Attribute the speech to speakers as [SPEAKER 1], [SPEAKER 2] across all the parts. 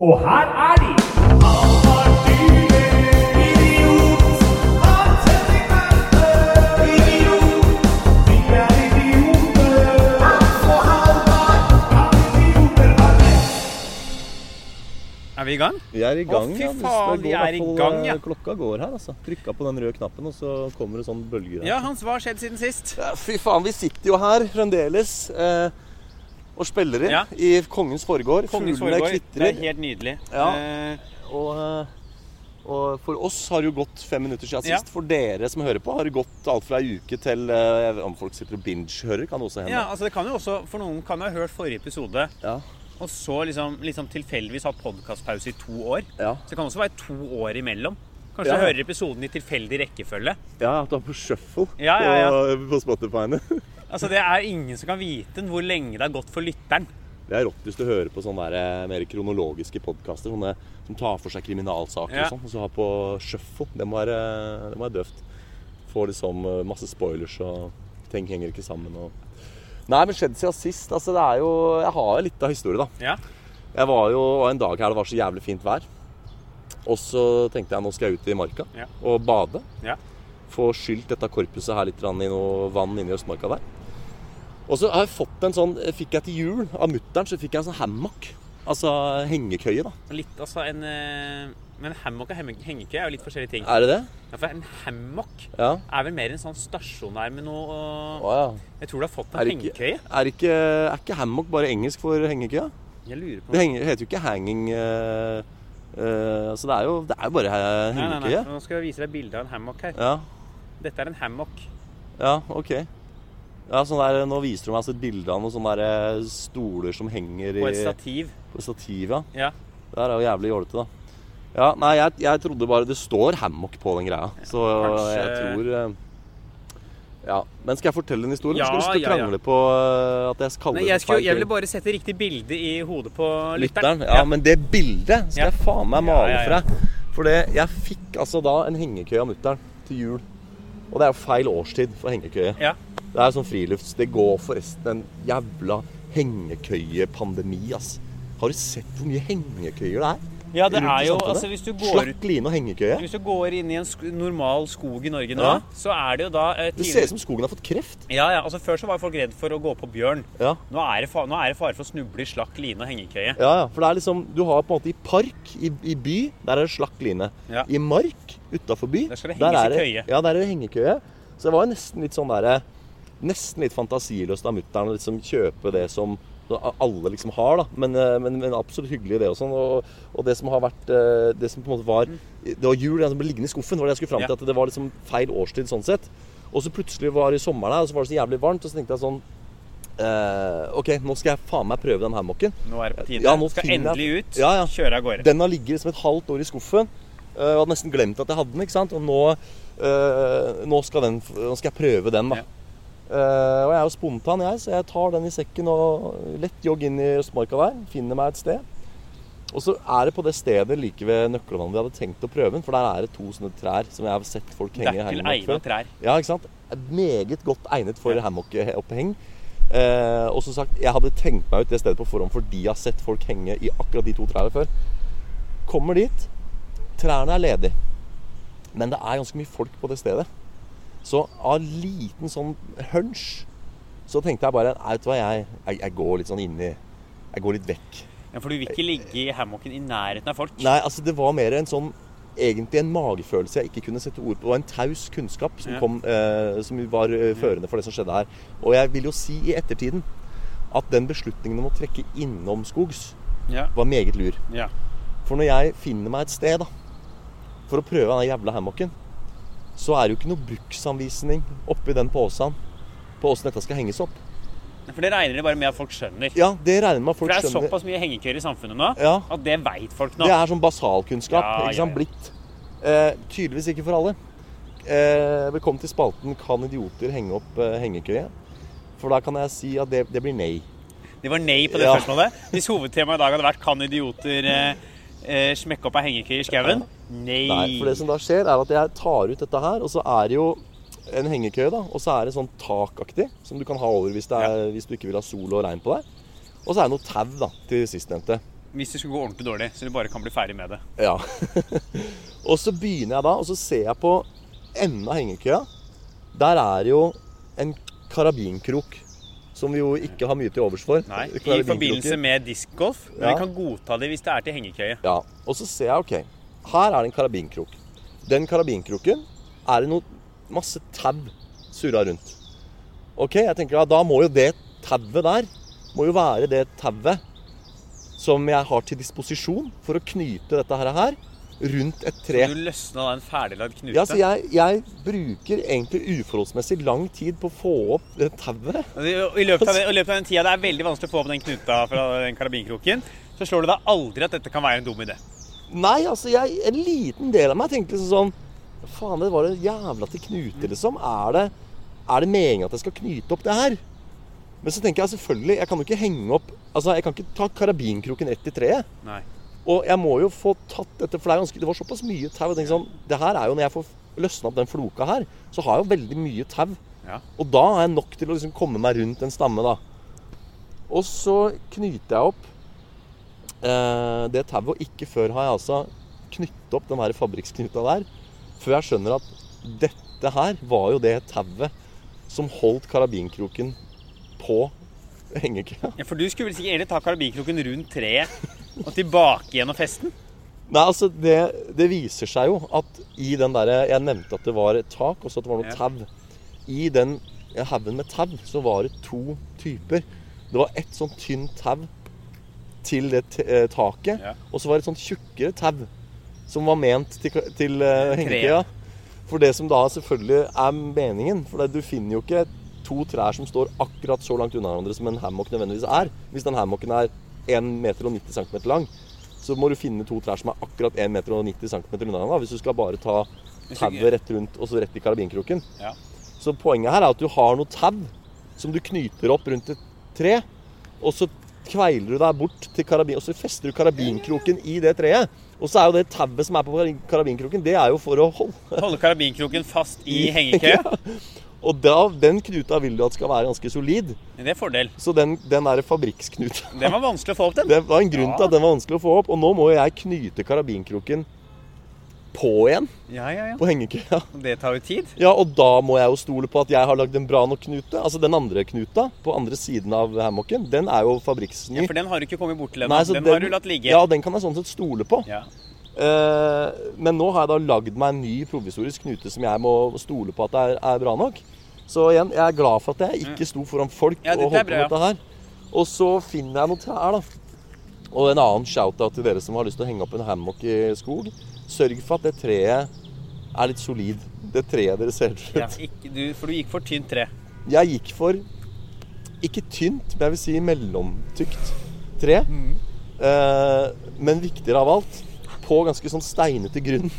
[SPEAKER 1] Og her er de!
[SPEAKER 2] Er vi i gang?
[SPEAKER 3] Vi er i gang.
[SPEAKER 2] fy
[SPEAKER 3] ja. Det- det
[SPEAKER 2] faen, vi
[SPEAKER 3] går i hvert
[SPEAKER 2] er i
[SPEAKER 3] fall,
[SPEAKER 2] gang, ja.
[SPEAKER 3] eh, Klokka går her, altså. Trykka på den røde knappen, og så kommer det sånn bølger her.
[SPEAKER 2] Ja, Hans, hva har skjedd siden sist?
[SPEAKER 4] Ja, Fy faen, vi sitter jo her fremdeles eh, og spiller inn
[SPEAKER 2] Ja.
[SPEAKER 4] i Kongens foregård.
[SPEAKER 2] Kongens
[SPEAKER 4] Fuglene
[SPEAKER 2] Foregård. Det er
[SPEAKER 4] kvitrer.
[SPEAKER 2] helt nydelig.
[SPEAKER 4] Ja.
[SPEAKER 2] Eh,
[SPEAKER 4] Og, eh, og for oss har det jo gått fem minutter siden
[SPEAKER 2] Ja.
[SPEAKER 4] sist. For dere som hører på, har det gått alt fra ei uke til eh, om folk sitter og binge-hører, kan det også hende.
[SPEAKER 2] ja, altså det kan jo også, For noen kan jo ha hørt forrige episode
[SPEAKER 4] Ja.
[SPEAKER 2] og så liksom, liksom tilfeldigvis hatt podkastpause i to år.
[SPEAKER 4] Ja.
[SPEAKER 2] Så det kan også være to år imellom. Kanskje
[SPEAKER 4] Ja,
[SPEAKER 2] du
[SPEAKER 4] ja.
[SPEAKER 2] hører episoden i tilfeldig rekkefølge.
[SPEAKER 4] Ja, at du har på shuffle
[SPEAKER 2] Ja, ja, ja.
[SPEAKER 4] på, på Spotify-ene.
[SPEAKER 2] Altså Det er ingen som kan vite hvor lenge det har gått for lytteren.
[SPEAKER 4] Det er rått hvis du hører på sånne der, eh, mer kronologiske podkaster sånne som tar for seg kriminalsaker
[SPEAKER 2] Ja.
[SPEAKER 4] og sånn, og så har på shuffle. Det må være, eh, det må være døvt. Får liksom eh, masse spoilers og ting henger ikke sammen og Nei, men skjedd siden sist. Altså, det er jo Jeg har jo litt av historie, da.
[SPEAKER 2] Ja.
[SPEAKER 4] Jeg var jo det var en dag her det var så jævlig fint vær. Og så tenkte jeg nå skal jeg ut i marka
[SPEAKER 2] Ja.
[SPEAKER 4] og bade.
[SPEAKER 2] Ja.
[SPEAKER 4] Få skylt dette korpuset her litt grann i noe vann inne i Østmarka der. Og så har jeg fått en sånn Fikk jeg til jul av mutter'n, så fikk jeg en sånn hammock. Altså hengekøye, da.
[SPEAKER 2] Litt altså en eh, Men hammock og hemme- hengekøye er jo litt forskjellige ting.
[SPEAKER 4] Er det det?
[SPEAKER 2] Ja, for en hammock
[SPEAKER 4] Ja.
[SPEAKER 2] er vel mer en sånn stasjonær med noe
[SPEAKER 4] Å,
[SPEAKER 2] og
[SPEAKER 4] ja.
[SPEAKER 2] Jeg tror du har fått
[SPEAKER 4] Er
[SPEAKER 2] en
[SPEAKER 4] det ikke-
[SPEAKER 2] hengekøye.
[SPEAKER 4] Er ikke, er ikke hammock bare engelsk for hengekøye?
[SPEAKER 2] Jeg lurer på
[SPEAKER 4] Det henger, heter jo ikke hanging eh, eh, Altså, det er jo, det er jo bare
[SPEAKER 2] Nei,
[SPEAKER 4] eh,
[SPEAKER 2] nei, nei.
[SPEAKER 4] hengekøye.
[SPEAKER 2] Nå skal jeg vise deg bilde av en hammock her.
[SPEAKER 4] Ja.
[SPEAKER 2] Dette er en hammock.
[SPEAKER 4] Ja, ok. Ja, sånn der, nå viser du meg altså et bilde av noen sånne der eh, stoler som henger i,
[SPEAKER 2] På et stativ.
[SPEAKER 4] på stativet. ja.
[SPEAKER 2] Ja.
[SPEAKER 4] Det her er jo jævlig jålete, da. Ja, nei, jeg, jeg trodde bare det står hammock på den greia. Så
[SPEAKER 2] kanskje-
[SPEAKER 4] jeg tror eh, Ja. Men skal jeg fortelle en historie?
[SPEAKER 2] Ja,
[SPEAKER 4] eller skal
[SPEAKER 2] ja,
[SPEAKER 4] du stå-
[SPEAKER 2] ja.
[SPEAKER 4] krangle på eh, at jeg kaller
[SPEAKER 2] Nei,
[SPEAKER 4] det
[SPEAKER 2] jeg,
[SPEAKER 4] for
[SPEAKER 2] skulle,
[SPEAKER 4] feil
[SPEAKER 2] jeg ville
[SPEAKER 4] ting?
[SPEAKER 2] bare sette riktig bilde i hodet på lytteren.
[SPEAKER 4] Lytteren? Ja, men det bildet skal
[SPEAKER 2] Ja.
[SPEAKER 4] jeg faen meg
[SPEAKER 2] Ja,
[SPEAKER 4] male
[SPEAKER 2] ja, ja.
[SPEAKER 4] for deg. For det- jeg fikk altså da en hengekøye av mutter'n til jul. Og det er jo feil årstid for hengekøye.
[SPEAKER 2] Ja.
[SPEAKER 4] Det er sånn frilufts... Det går forresten en jævla hengekøyepandemi, ass. Har du sett hvor mye hengekøyer det er?
[SPEAKER 2] Ja, det
[SPEAKER 4] rundt i
[SPEAKER 2] er jo
[SPEAKER 4] samfunnet?
[SPEAKER 2] Altså, hvis du går ut
[SPEAKER 4] Slakk line og hengekøye.
[SPEAKER 2] hvis du går inn i en sk normal skog i Norge nå,
[SPEAKER 4] Ja.
[SPEAKER 2] så er det jo da eh,
[SPEAKER 4] Det ser ut som skogen har fått kreft.
[SPEAKER 2] Ja, ja, altså Før så var folk redd for å gå på bjørn.
[SPEAKER 4] Ja.
[SPEAKER 2] Nå er det, fa nå er det fare for å snuble i slakk line og hengekøye.
[SPEAKER 4] Ja, ja, for det er liksom, Du har på en måte i park, i, i by, der er det slakk line.
[SPEAKER 2] Ja.
[SPEAKER 4] I mark utafor by,
[SPEAKER 2] Der skal det henges
[SPEAKER 4] er
[SPEAKER 2] i
[SPEAKER 4] det,
[SPEAKER 2] køye.
[SPEAKER 4] Ja, der er det hengekøye. Så det var jo nesten litt sånn derre Nesten litt fantasiløst av mutter'n å liksom kjøpe det som alle liksom har, da. Men, eh, men, men absolutt hyggelig, det og sånn. Og, og det som har vært eh, Det som på en måte var Det var jul, det som ble liggende i skuffen. var det jeg skulle fram
[SPEAKER 2] Ja.
[SPEAKER 4] til, At det var liksom feil årstid sånn sett. Og så plutselig var det sommeren her, og så var det så jævlig varmt, og så tenkte jeg sånn eh, OK, nå skal jeg faen meg prøve den hammocken.
[SPEAKER 2] Nå er det på tide.
[SPEAKER 4] Ja, nå
[SPEAKER 2] Skal
[SPEAKER 4] finner
[SPEAKER 2] endelig
[SPEAKER 4] jeg-
[SPEAKER 2] ut.
[SPEAKER 4] Ja, ja.
[SPEAKER 2] Kjøre av gårde.
[SPEAKER 4] Den har ligget som et halvt år i skuffen. Eh, Jeg hadde nesten glemt at jeg hadde den. ikke sant? Og nå, eh, nå, skal, den, nå skal jeg prøve den, da.
[SPEAKER 2] Ja.
[SPEAKER 4] Eh, og jeg er jo spontan, jeg, så jeg tar den i sekken og lett jogg inn i Østmarka der. Finner meg et sted. Og så er det på det stedet like ved nøkkelvannet vi hadde tenkt å prøve den, for der er det to sånne trær som jeg har sett folk henge i
[SPEAKER 2] Dertil
[SPEAKER 4] hammock
[SPEAKER 2] egna trær.
[SPEAKER 4] ja, ikke sant? Meget godt egnet for
[SPEAKER 2] Ja.
[SPEAKER 4] hammockoppeheng. Eh, og som sagt, jeg hadde tenkt meg ut det stedet på forhånd fordi jeg har sett folk henge i akkurat de to trærne før. Kommer dit, trærne er ledige. Men det er ganske mye folk på det stedet. Så av liten sånn hunch så tenkte jeg bare Nei, vet du hva, jeg, jeg, jeg går litt sånn inni Jeg går litt vekk.
[SPEAKER 2] Ja, for du vil ikke ligge i hammocken i nærheten av folk.
[SPEAKER 4] Nei, altså det var mer en sånn Egentlig en magefølelse jeg ikke kunne sette ord på. Det var en taus kunnskap som,
[SPEAKER 2] Ja.
[SPEAKER 4] kom, eh, som var eh, førende for det som skjedde her. Og jeg vil jo si i ettertiden at den beslutningen om å trekke innomskogs
[SPEAKER 2] Ja.
[SPEAKER 4] var meget lur.
[SPEAKER 2] ja.
[SPEAKER 4] For når jeg finner meg et sted da, for å prøve den jævla hammocken, så er det jo ikke noe bruksanvisning oppi den posen på åssen dette skal henges opp.
[SPEAKER 2] For det regner det bare med at folk skjønner.
[SPEAKER 4] Ja, det regner jeg med at
[SPEAKER 2] For
[SPEAKER 4] folk
[SPEAKER 2] det er
[SPEAKER 4] skjønner.
[SPEAKER 2] såpass mye hengekøyer i samfunnet nå
[SPEAKER 4] Ja.
[SPEAKER 2] at det veit folk nå.
[SPEAKER 4] Det er sånn basalkunnskap.
[SPEAKER 2] Ja,
[SPEAKER 4] ikke sant,
[SPEAKER 2] ja, ja.
[SPEAKER 4] Blitt. Eh, tydeligvis ikke for alle. Eh, velkommen til spalten 'Kan idioter henge opp eh, hengekøye?' For da kan jeg si at det, det blir nei.
[SPEAKER 2] Det var nei på det
[SPEAKER 4] Ja.
[SPEAKER 2] spørsmålet. Hvis hovedtemaet i dag hadde vært 'Kan idioter eh, eh, smekke opp ei hengekøye i skauen?' Nei.
[SPEAKER 4] nei. For det som da skjer, er at jeg tar ut dette her, og så er det jo en hengekøye, da. Og så er det sånn takaktig, som du kan ha over hvis, det er, hvis du ikke vil ha sol og regn på deg. Og så er det noe tau da, til sistnevnte.
[SPEAKER 2] Hvis det skulle gå ordentlig dårlig, så du bare kan bli ferdig med det.
[SPEAKER 4] Ja. og så begynner jeg da, og så ser jeg på enden av hengekøya. Der er jo en karabinkrok, som vi jo ikke har mye til overs for.
[SPEAKER 2] Nei, I
[SPEAKER 4] Karabinkroker.
[SPEAKER 2] forbindelse med diskgolf, men
[SPEAKER 4] Ja.
[SPEAKER 2] vi kan godta det hvis det er til hengekøye.
[SPEAKER 4] Ja, og så ser jeg, ok, her er det en karabinkrok. Den karabinkroken er det noe, masse tau surra rundt. Ok, jeg tenker ja, da må jo det tauet der, må jo være det tauet som jeg har til disposisjon for å knyte dette her, her rundt et tre.
[SPEAKER 2] Du løsna da en ferdiglagd knute.
[SPEAKER 4] Ja, så jeg, jeg bruker egentlig uforholdsmessig lang tid på å få opp det tauet.
[SPEAKER 2] Og I i løpet, av den, I løpet av den tida det er veldig vanskelig å få opp den knuta fra den karabinkroken, så slår det deg aldri at dette kan være en dum idé.
[SPEAKER 4] Nei, altså, jeg, en liten del av meg tenkte liksom sånn Faen, det var det jævla til knute, liksom. Er det, er det meningen at jeg skal knyte opp det her? Men så tenker jeg selvfølgelig, jeg kan jo ikke henge opp Altså, jeg kan ikke ta karabinkroken rett i treet.
[SPEAKER 2] Nei.
[SPEAKER 4] Og jeg må jo få tatt dette, for det, er ganske, det var såpass mye tau. Jeg tenkte sånn, det her er jo, Når jeg får løsna opp den floka her, så har jeg jo veldig mye tau.
[SPEAKER 2] Ja.
[SPEAKER 4] Og da har jeg nok til å liksom komme meg rundt en stamme, da. Og så knyter jeg opp eh, det tauet, og ikke før har jeg altså knyttet opp den der fabrikksknuta der, før jeg skjønner at dette her var jo det tauet som holdt karabinkroken på hengekøya.
[SPEAKER 2] Ja, for du skulle vel sikkert egentlig ta karabinkroken rundt treet og tilbake gjennom festen?
[SPEAKER 4] Nei, altså det, det viser seg jo at i den derre Jeg nevnte at det var et tak, og så at det var noe
[SPEAKER 2] Ja.
[SPEAKER 4] tau. I den haugen med tau så var det to typer. Det var ett sånn tynt tau til det t eh, taket,
[SPEAKER 2] Ja.
[SPEAKER 4] og så var det et sånt tjukkere tau som var ment til, ka- til eh, hengekøya. For det som da selvfølgelig er meningen For det, du finner jo ikke to trær som står akkurat så langt unna hverandre som en hammock nødvendigvis er. Hvis den hammocken er 1 meter og 90 cm lang, så må du finne to trær som er akkurat 1 meter og 90 cm unna hverandre. Hvis du skal bare ta
[SPEAKER 2] Hvis du
[SPEAKER 4] tauet
[SPEAKER 2] ikke-
[SPEAKER 4] rett rundt og så rett i karabinkroken.
[SPEAKER 2] Ja.
[SPEAKER 4] Så poenget her er at du har noe tau som du knyter opp rundt et tre, og så kveiler du deg bort til karabin, og så fester du karabinkroken i det treet. Og så er jo det tauet som er på karabin- karabinkroken, det er jo for å holde
[SPEAKER 2] Holde karabinkroken fast i hengekøya?
[SPEAKER 4] Og da, den knuta vil du at skal være ganske solid.
[SPEAKER 2] Det er fordel.
[SPEAKER 4] Så den, den der fabrikksknuta
[SPEAKER 2] Den var vanskelig å få opp, den.
[SPEAKER 4] Det var en grunn til at den var vanskelig å få opp. Og nå må jo jeg knyte karabinkroken på igjen
[SPEAKER 2] Ja, ja, ja.
[SPEAKER 4] på hengekøya.
[SPEAKER 2] Og Det tar jo tid.
[SPEAKER 4] Ja, og da må jeg jo stole på at jeg har lagd en bra nok knute. Altså den andre knuta på andre siden av hammocken, den er jo fabrikksny.
[SPEAKER 2] For den har du ikke kommet bort til ennå.
[SPEAKER 4] Nei, så
[SPEAKER 2] Den, har du latt ligge.
[SPEAKER 4] Ja, den kan jeg sånn sett stole på.
[SPEAKER 2] Ja.
[SPEAKER 4] Eh, men nå har jeg da lagd meg en ny provisorisk knute som jeg må stole på at er, er bra nok. Så igjen, jeg er glad for at jeg ikke sto foran folk
[SPEAKER 2] Mm. Ja,
[SPEAKER 4] og
[SPEAKER 2] dette er
[SPEAKER 4] holdt på med
[SPEAKER 2] bra,
[SPEAKER 4] dette her. Og så finner jeg noen trær, da. Og en annen shout-out til dere som har lyst til å henge opp en hammock i skog. Sørg for at det treet er litt solid. Det treet dere ser ut.
[SPEAKER 2] Ja, ikke, du, for du gikk for tynt tre.
[SPEAKER 4] Jeg gikk for ikke tynt, men jeg vil si mellomtykt tre.
[SPEAKER 2] Mm.
[SPEAKER 4] Eh, men viktigere av alt, på ganske sånn steinete grunn.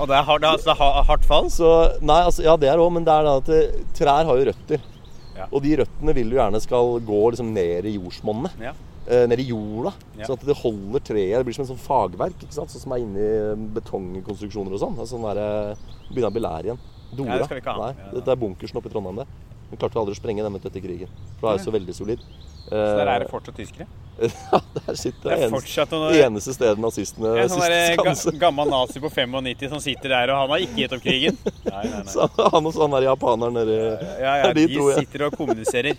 [SPEAKER 2] Og det er hard- altså, det er ha- hardt fall.
[SPEAKER 4] Så nei, altså, ja det er òg, men det er da at det, trær har jo røtter.
[SPEAKER 2] Ja.
[SPEAKER 4] Og de røttene vil du gjerne skal gå liksom ned i jordsmonnet.
[SPEAKER 2] Ja.
[SPEAKER 4] eh, ned i jorda.
[SPEAKER 2] Ja.
[SPEAKER 4] Sånn at det holder treet. Det blir som en sånn fagverk. ikke sant? Sånn som er inni betongkonstruksjoner og sånn. Det er sånn der, eh, Begynner å bli lær igjen. Dora.
[SPEAKER 2] Nei, det skal vi ikke ha.
[SPEAKER 4] Nei,
[SPEAKER 2] Ja,
[SPEAKER 4] dette er bunkersen oppe i Trondheim, det. Vi klarte aldri å sprenge dem vet du, etter krigen. For det er jo så veldig solid. Eh,
[SPEAKER 2] Så der er det fortsatt tyskere.
[SPEAKER 4] ja, der sitter
[SPEAKER 2] Det
[SPEAKER 4] det
[SPEAKER 2] er
[SPEAKER 4] eneste,
[SPEAKER 2] fortsatt noen
[SPEAKER 4] eneste stedet nazistene
[SPEAKER 2] En sånn
[SPEAKER 4] siste
[SPEAKER 2] der ga,
[SPEAKER 4] skanse.
[SPEAKER 2] gammel nazi på 95 som sitter der, og han har ikke gitt opp krigen. Nei, nei, nei.
[SPEAKER 4] Så Han og sånn der japaneren nede
[SPEAKER 2] Ja, ja,
[SPEAKER 4] de
[SPEAKER 2] de
[SPEAKER 4] tror jeg.
[SPEAKER 2] sitter og kommuniserer.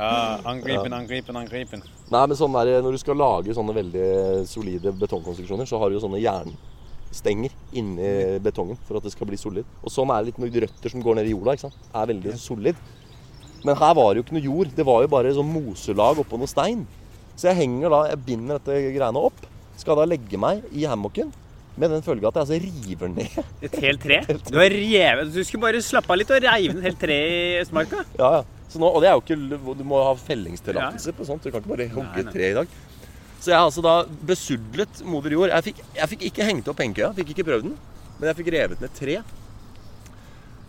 [SPEAKER 2] Ja, angripen, angripen, angripen.
[SPEAKER 4] Nei, men sånn der, når du skal lage sånne veldig solide betongkonstruksjoner, så har du jo sånne jernstenger inni betongen for at det skal bli solid. Og sånn er det litt når røtter som går ned i jorda, ikke sant. Er veldig solid. Men her var det jo ikke noe jord. Det var jo bare sånn moselag oppå noe stein. Så jeg henger da, jeg binder dette greiene opp. Skal da legge meg i hammocken med den følge at jeg altså river ned
[SPEAKER 2] Et helt tre? Du, har revet. du skulle bare slappe av litt og reive ned et helt tre i Østmarka.
[SPEAKER 4] Ja, ja. Så nå, og det er jo ikke, du må ha fellingstillatelse på sånt. Du kan ikke bare hogge
[SPEAKER 2] Nei,
[SPEAKER 4] et
[SPEAKER 2] nei.
[SPEAKER 4] tre i dag. Så jeg har altså da besudlet moder jord. Jeg fikk, jeg fikk ikke hengt opp hengekøya, fikk ikke prøvd den. Men jeg fikk revet ned tre.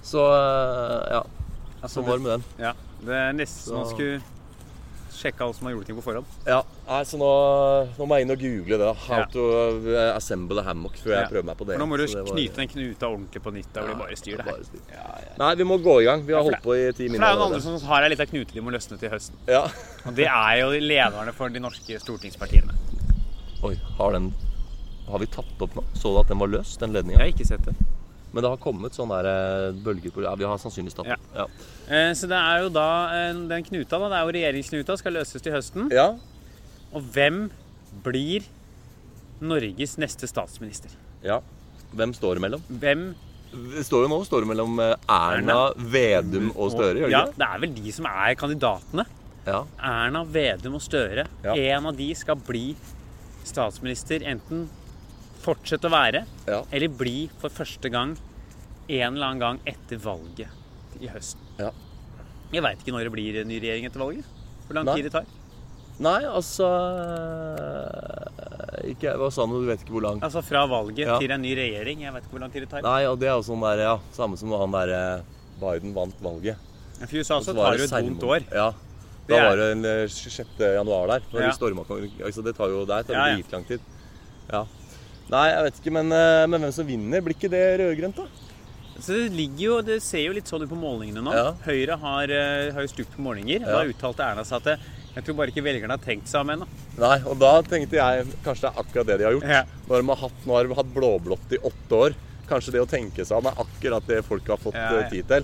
[SPEAKER 4] Så øh, ja. Sånn var det med den.
[SPEAKER 2] Ja, det er nesten som man
[SPEAKER 4] Så-
[SPEAKER 2] skulle sjekke alle som har gjort ting på forhånd.
[SPEAKER 4] Ja, nei, Så nå, nå må jeg inn og google det. da. How
[SPEAKER 2] Ja.
[SPEAKER 4] to øh, assemble a hammock før jeg
[SPEAKER 2] Ja.
[SPEAKER 4] prøver meg på det.
[SPEAKER 2] For nå må du
[SPEAKER 4] Så det var-
[SPEAKER 2] knyte den knuta ordentlig på nytt. Da blir det bare styr, det her.
[SPEAKER 4] bare styr.
[SPEAKER 2] Ja, ja.
[SPEAKER 4] Nei, vi må gå i gang. Vi har
[SPEAKER 2] for
[SPEAKER 4] holdt på i ti
[SPEAKER 2] For det er jo noen
[SPEAKER 4] minutter.
[SPEAKER 2] andre som har ei lita knute de må løsne til høsten.
[SPEAKER 4] Ja.
[SPEAKER 2] Og det er jo lederne for de norske stortingspartiene.
[SPEAKER 4] Oi, har den Har vi tatt opp nå? Så du at den var løs, den
[SPEAKER 2] Jeg
[SPEAKER 4] ledninga?
[SPEAKER 2] har ikke sett det.
[SPEAKER 4] Men det har kommet sånne der, eh, bølger på Ja, vi har sannsynligvis tatt den. Ja.
[SPEAKER 2] Eh, Så det er jo da eh, den knuta, da. Det er jo regjeringsknuta, skal løses til høsten.
[SPEAKER 4] ja.
[SPEAKER 2] Og hvem blir Norges neste statsminister?
[SPEAKER 4] ja. Hvem står det mellom?
[SPEAKER 2] Hvem
[SPEAKER 4] Det står jo nå står det mellom eh, Erna, Vedum og Støre, gjør det
[SPEAKER 2] Ja,
[SPEAKER 4] ikke?
[SPEAKER 2] det er vel de som er kandidatene.
[SPEAKER 4] Ja.
[SPEAKER 2] Erna, Vedum og Støre.
[SPEAKER 4] Ja.
[SPEAKER 2] En av de skal bli statsminister. Enten fortsette å være,
[SPEAKER 4] Ja.
[SPEAKER 2] eller bli for første gang en eller annen gang etter valget i høsten.
[SPEAKER 4] Ja.
[SPEAKER 2] Jeg veit ikke når det blir en ny regjering etter valget. Hvor lang
[SPEAKER 4] Nei.
[SPEAKER 2] tid det tar.
[SPEAKER 4] Nei, altså eh, ikke, Hva sa du? Du vet ikke hvor lang?
[SPEAKER 2] Altså fra valget
[SPEAKER 4] Ja.
[SPEAKER 2] til en ny regjering. Jeg vet ikke hvor lang tid det tar.
[SPEAKER 4] Nei, og det er jo sånn der, ja. Samme som når han der eh, Biden vant valget.
[SPEAKER 2] For i USA
[SPEAKER 4] Og
[SPEAKER 2] så
[SPEAKER 4] var
[SPEAKER 2] tar det jo et
[SPEAKER 4] seremoni-
[SPEAKER 2] vondt år.
[SPEAKER 4] Ja.
[SPEAKER 2] Det
[SPEAKER 4] Da
[SPEAKER 2] er-
[SPEAKER 4] var det den eh, 6. januar der. Når
[SPEAKER 2] Ja.
[SPEAKER 4] de storma kong- altså, Det tar jo der tar det
[SPEAKER 2] Ja, ja.
[SPEAKER 4] dritlang tid. Ja. Nei, jeg vet ikke, men, eh, men hvem som vinner? Blir ikke det rødgrønt, da?
[SPEAKER 2] Så det ligger jo, det ser jo litt sånn ut på målingene nå.
[SPEAKER 4] Ja.
[SPEAKER 2] Høyre har, eh, har jo stupt på målinger.
[SPEAKER 4] Ja.
[SPEAKER 2] Da uttalte Erna seg at det- jeg tror bare ikke velgerne har tenkt seg om ennå.
[SPEAKER 4] Nei, og da tenkte jeg kanskje det er akkurat det de har gjort.
[SPEAKER 2] Ja.
[SPEAKER 4] Når de har hatt, nå har de hatt blå-blått i åtte år. Kanskje det å tenke seg om er akkurat det folk har fått
[SPEAKER 2] Ja, ja.
[SPEAKER 4] eh, tid til.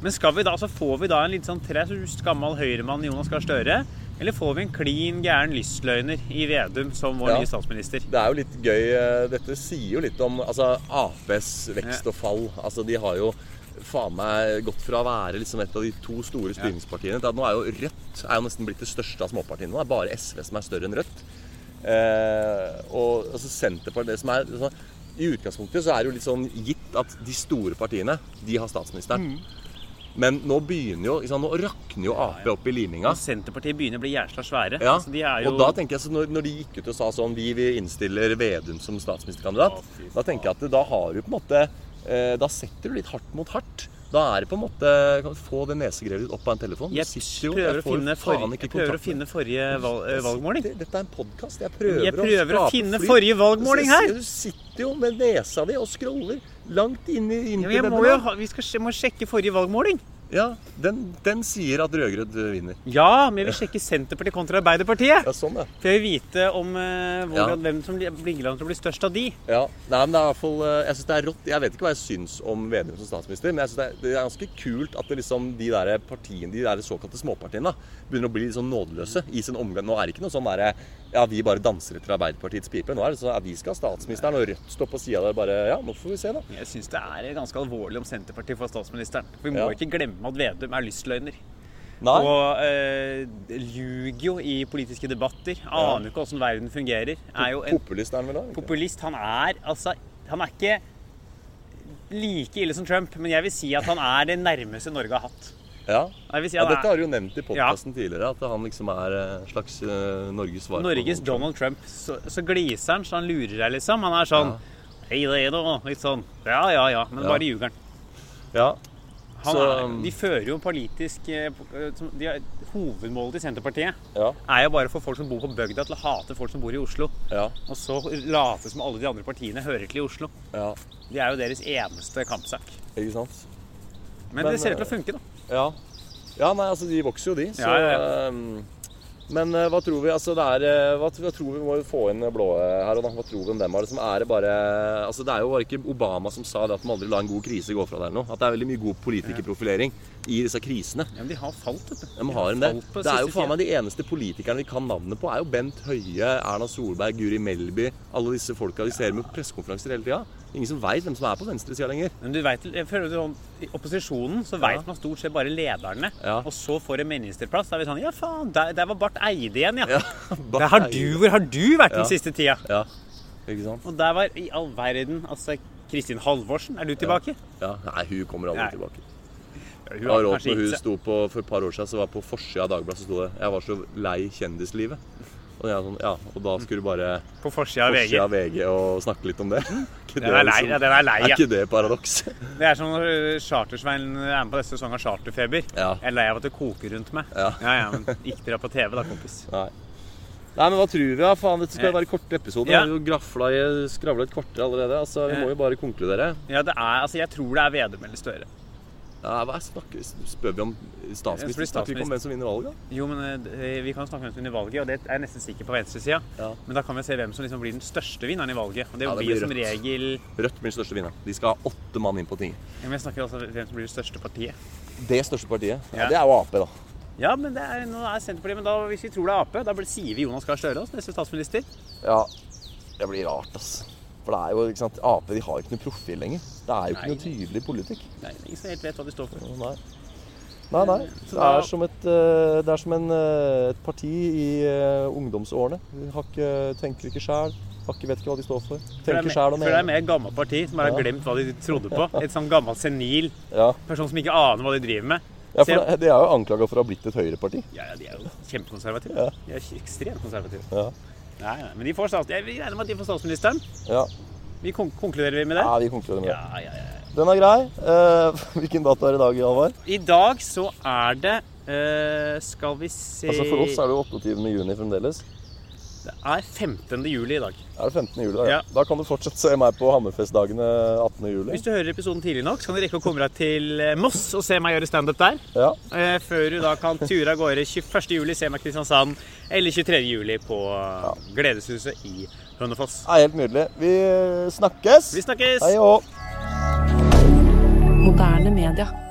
[SPEAKER 2] Men skal vi da, så får vi da en litt sånn traust gammel høyremann Jonas Gahr Støre? Eller får vi en klin gæren lystløgner i Vedum som vår
[SPEAKER 4] Ja.
[SPEAKER 2] nye statsminister?
[SPEAKER 4] Det er jo litt gøy eh, Dette sier jo litt om altså, Aps vekst
[SPEAKER 2] Ja.
[SPEAKER 4] og fall. Altså, de har jo faen meg gått fra å være liksom et av de to store styringspartiene til at nå er jo Rødt er jo nesten blitt det største av småpartiene. nå. Det er bare SV som er større enn Rødt. Eh, og altså, Senterpartiet det som er altså, I utgangspunktet så er det jo litt sånn gitt at de store partiene, de har statsministeren. Men nå begynner jo ikke sant, Nå rakner jo Ap opp i liminga.
[SPEAKER 2] Og Senterpartiet begynner å bli jæsla svære.
[SPEAKER 4] Ja,
[SPEAKER 2] Så Altså, de er jo
[SPEAKER 4] og da tenker jeg så når, når de gikk ut og sa sånn Vi, vi innstiller Vedum som statsministerkandidat,
[SPEAKER 2] Å, fy faen.
[SPEAKER 4] da tenker jeg at da har du på en måte eh, Da setter du litt hardt mot hardt. Da er det på en måte kan du Få det nesegrevet ditt opp av en telefon. Du
[SPEAKER 2] jeg
[SPEAKER 4] sitter jo-
[SPEAKER 2] prøver, å
[SPEAKER 4] jeg får jo
[SPEAKER 2] finne,
[SPEAKER 4] faen
[SPEAKER 2] forrige,
[SPEAKER 4] ikke
[SPEAKER 2] jeg prøver å
[SPEAKER 4] kontakt med-
[SPEAKER 2] finne forrige valg, eh, valgmåling.
[SPEAKER 4] Dette- Dette er en podkast. Jeg prøver,
[SPEAKER 2] Jeg prøver å
[SPEAKER 4] skape
[SPEAKER 2] finne
[SPEAKER 4] flyt.
[SPEAKER 2] forrige valgmåling her.
[SPEAKER 4] Du sitter jo med nesa di og scroller langt inn i inn
[SPEAKER 2] Ja, men
[SPEAKER 4] til
[SPEAKER 2] jeg
[SPEAKER 4] denne
[SPEAKER 2] må jo
[SPEAKER 4] dagen.
[SPEAKER 2] ha, vi skal, sj- må sjekke forrige valgmåling.
[SPEAKER 4] Ja, den, den sier at rød-grønn vinner.
[SPEAKER 2] Ja, men jeg vil sjekke Senterpartiet kontra Arbeiderpartiet.
[SPEAKER 4] Ja, sånn, ja.
[SPEAKER 2] For jeg vil vite om eh, hvordan,
[SPEAKER 4] Ja.
[SPEAKER 2] hvem som blir- blir glad til å bli størst av de.
[SPEAKER 4] Ja, nei, men det er i hvert fall eh, Jeg synes det er rått Jeg vet ikke hva jeg syns om Vedum som statsminister, men jeg synes det, er, det er ganske kult at det liksom de der partiene, de der såkalte småpartiene, da, begynner å bli litt sånn nådeløse i sin omgang. Nå er det ikke noe sånn derre Ja, vi bare danser etter Arbeiderpartiets pipe. Nå er det sånn at vi skal ha statsministeren, og Rødt står på sida der bare Ja, nå får vi se, da.
[SPEAKER 2] Jeg syns det er ganske alvorlig om Senterpartiet får statsministeren. For vi må
[SPEAKER 4] Ja.
[SPEAKER 2] ikke glemme at Vedum er lystløgner.
[SPEAKER 4] Nei.
[SPEAKER 2] Og eh, ljuger jo i politiske debatter. Aner jo ikke åssen verden fungerer. Er jo en
[SPEAKER 4] Populist er han vel da? ikke?
[SPEAKER 2] populist. Han er altså Han er ikke like ille som Trump, men jeg vil si at han er det nærmeste Norge har hatt.
[SPEAKER 4] Ja.
[SPEAKER 2] Jeg vil si
[SPEAKER 4] ja,
[SPEAKER 2] han
[SPEAKER 4] dette
[SPEAKER 2] er
[SPEAKER 4] har du jo nevnt i podkasten tidligere, at han liksom er eh, slags eh, Norges svar på
[SPEAKER 2] Norges Donald Trump. Så, så gliser han, så han lurer deg, liksom. Han er sånn Hei, det er noe. Litt sånn Ja, ja, ja. Men
[SPEAKER 4] Ja.
[SPEAKER 2] bare ljuger han.
[SPEAKER 4] Ja.
[SPEAKER 2] Han er,
[SPEAKER 4] Så- um,
[SPEAKER 2] de fører jo en politisk eh, som- de har, Hovedmålet til Senterpartiet
[SPEAKER 4] Ja.
[SPEAKER 2] er jo bare å få folk som bor på bygda, til å hate folk som bor i Oslo.
[SPEAKER 4] Ja.
[SPEAKER 2] Og så late som alle de andre partiene hører til i Oslo.
[SPEAKER 4] ja.
[SPEAKER 2] Det er jo deres eneste kampsak.
[SPEAKER 4] Ikke sant?
[SPEAKER 2] Men,
[SPEAKER 4] Men,
[SPEAKER 2] det ser ut til å
[SPEAKER 4] eh,
[SPEAKER 2] funke, da.
[SPEAKER 4] Ja. ja, nei, altså de vokser jo de. Så,
[SPEAKER 2] Ja, ja,
[SPEAKER 4] ehm, men eh, hva tror vi altså det er, eh, hva, hva tror vi, Vi må jo få inn blå eh, her. og da, Hva tror vi om dem? Er det, som er det, bare, altså, det er jo bare ikke Obama som sa det at man aldri la en god krise gå fra deg. eller noe. At det er veldig mye god politikerprofilering i disse krisene.
[SPEAKER 2] Ja, men de har falt, vet du.
[SPEAKER 4] De har en det.
[SPEAKER 2] falt på
[SPEAKER 4] Det er jo
[SPEAKER 2] siste tiden.
[SPEAKER 4] faen meg de eneste politikerne vi kan navnet på, er jo Bent Høie, Erna Solberg, Guri Melby. Alle disse folka vi ser med pressekonferanser hele tida. Ingen som veit hvem som er på venstresida lenger.
[SPEAKER 2] Men du vet, jeg føler sånn, I opposisjonen så veit man stort sett bare lederne.
[SPEAKER 4] Ja.
[SPEAKER 2] Og så får en ministerplass. Da er vi sånn Ja, faen, der, der var Barth Eide igjen, ja.
[SPEAKER 4] Ja,
[SPEAKER 2] Der har du, hvor har du vært
[SPEAKER 4] Ja.
[SPEAKER 2] den siste tida?
[SPEAKER 4] Ja, ikke sant?
[SPEAKER 2] Og der var i all verden altså Kristin Halvorsen. Er du tilbake?
[SPEAKER 4] Ja, nei, hun kommer aldri
[SPEAKER 2] Nei.
[SPEAKER 4] tilbake.
[SPEAKER 2] Hun
[SPEAKER 4] Jeg har
[SPEAKER 2] har
[SPEAKER 4] råd
[SPEAKER 2] kanskje
[SPEAKER 4] når hun
[SPEAKER 2] gitt seg.
[SPEAKER 4] sto på for et par år siden, så var på forsida av Dagbladet så sto det 'Jeg var så lei kjendislivet'. Og, jeg er sånn, ja, og da skulle du bare
[SPEAKER 2] På forsida av VG.
[SPEAKER 4] forsida av VG og snakke litt om det? Ikke
[SPEAKER 2] Den er lei,
[SPEAKER 4] liksom-
[SPEAKER 2] ja, den er lei,
[SPEAKER 4] er
[SPEAKER 2] ja.
[SPEAKER 4] ikke det et paradoks?
[SPEAKER 2] Det er som når ø, Chartersvein er med på neste sesong av Charterfeber.
[SPEAKER 4] Ja.
[SPEAKER 2] Jeg er lei av at det koker rundt meg.
[SPEAKER 4] Ja.
[SPEAKER 2] ja, ja men Ikke dra på TV, da, kompis.
[SPEAKER 4] Nei. Nei, men hva tror vi? da? Faen, dette skal jo være korte episoder.
[SPEAKER 2] Ja.
[SPEAKER 4] Vi har jo grafla i skravla et kvarter allerede. Altså, Vi må jo bare konkludere.
[SPEAKER 2] Ja, det er, altså, Jeg tror det er Vedum eller Støre.
[SPEAKER 4] Ja, hva er snakker, spør vi om statsminister?
[SPEAKER 2] Jeg tror
[SPEAKER 4] Snakker vi ikke om hvem som vinner valget? da?
[SPEAKER 2] Jo, men eh, Vi kan snakke om hvem som vinner valget, og det er jeg nesten sikker på venstresida.
[SPEAKER 4] Ja.
[SPEAKER 2] Men da kan vi se hvem som liksom blir den største vinneren i valget. Og det,
[SPEAKER 4] Ja, det
[SPEAKER 2] blir jo som
[SPEAKER 4] blir Rødt.
[SPEAKER 2] regel
[SPEAKER 4] Rødt blir den største vinneren. De skal ha åtte mann inn på tinget.
[SPEAKER 2] Ja, Men Jeg snakker altså om hvem som blir det største partiet.
[SPEAKER 4] Det største partiet, ja.
[SPEAKER 2] Ja.
[SPEAKER 4] det er jo Ap, da.
[SPEAKER 2] Ja, men det er, nå er Senterpartiet, men da, hvis vi tror det er Ap, da blir- sier vi Jonas Gahr Støre oss, neste statsminister.
[SPEAKER 4] Ja, det blir rart, ass. For det er jo, ikke sant, Ap de har jo ikke noe profil lenger. Det er jo ikke
[SPEAKER 2] Nei.
[SPEAKER 4] noe tydelig politikk.
[SPEAKER 2] Nei, det er Ingen som helt vet hva de står for.
[SPEAKER 4] Nei. Nei, nei.
[SPEAKER 2] Så
[SPEAKER 4] Det
[SPEAKER 2] da-
[SPEAKER 4] er som et, eh, det er som en, eh, et parti i eh, ungdomsårene. De har ikke, tenker ikke sjæl, vet ikke hva de står for.
[SPEAKER 2] For det er
[SPEAKER 4] Tenker
[SPEAKER 2] mer-
[SPEAKER 4] sjæl
[SPEAKER 2] for
[SPEAKER 4] og
[SPEAKER 2] det er
[SPEAKER 4] mener.
[SPEAKER 2] mer et gammelt parti som bare har
[SPEAKER 4] Ja.
[SPEAKER 2] glemt hva de trodde på. Et sånn gammelt senil
[SPEAKER 4] Ja.
[SPEAKER 2] person som ikke aner hva de driver med.
[SPEAKER 4] Ja, for
[SPEAKER 2] Se-
[SPEAKER 4] det, de er jo anklaga for å ha blitt et høyreparti.
[SPEAKER 2] Ja, ja, de er jo kjempekonservative.
[SPEAKER 4] Ja.
[SPEAKER 2] De er ekstremt konservative.
[SPEAKER 4] Ja.
[SPEAKER 2] Nei, nei, men de får stats jeg regner med at de får statsministeren.
[SPEAKER 4] Ja.
[SPEAKER 2] Vi kon konkluderer vi med det.
[SPEAKER 4] ja, vi konkluderer med det.
[SPEAKER 2] Ja, ja, ja.
[SPEAKER 4] Den er grei. Eh, hvilken dato er det i dag, Halvard?
[SPEAKER 2] I dag så er det eh, Skal vi se
[SPEAKER 4] Altså, for oss er det jo 28. juni fremdeles.
[SPEAKER 2] det er 15. juli i dag.
[SPEAKER 4] Er det 15. juli? Da, ja.
[SPEAKER 2] Ja.
[SPEAKER 4] da kan du fortsatt se meg på Hammerfestdagene 18. juli.
[SPEAKER 2] Hvis du hører episoden tidlig nok, så kan du rekke å komme deg til eh, Moss og se meg gjøre standup der.
[SPEAKER 4] Ja.
[SPEAKER 2] Eh, før du da kan ture av gårde 21. juli, se meg i Kristiansand, eller 23. juli på eh, Gledeshuset i Hønefoss.
[SPEAKER 4] Det er helt nydelig. Vi snakkes!
[SPEAKER 2] Vi snakkes!
[SPEAKER 4] Hei og hå!
[SPEAKER 1] Moderne media.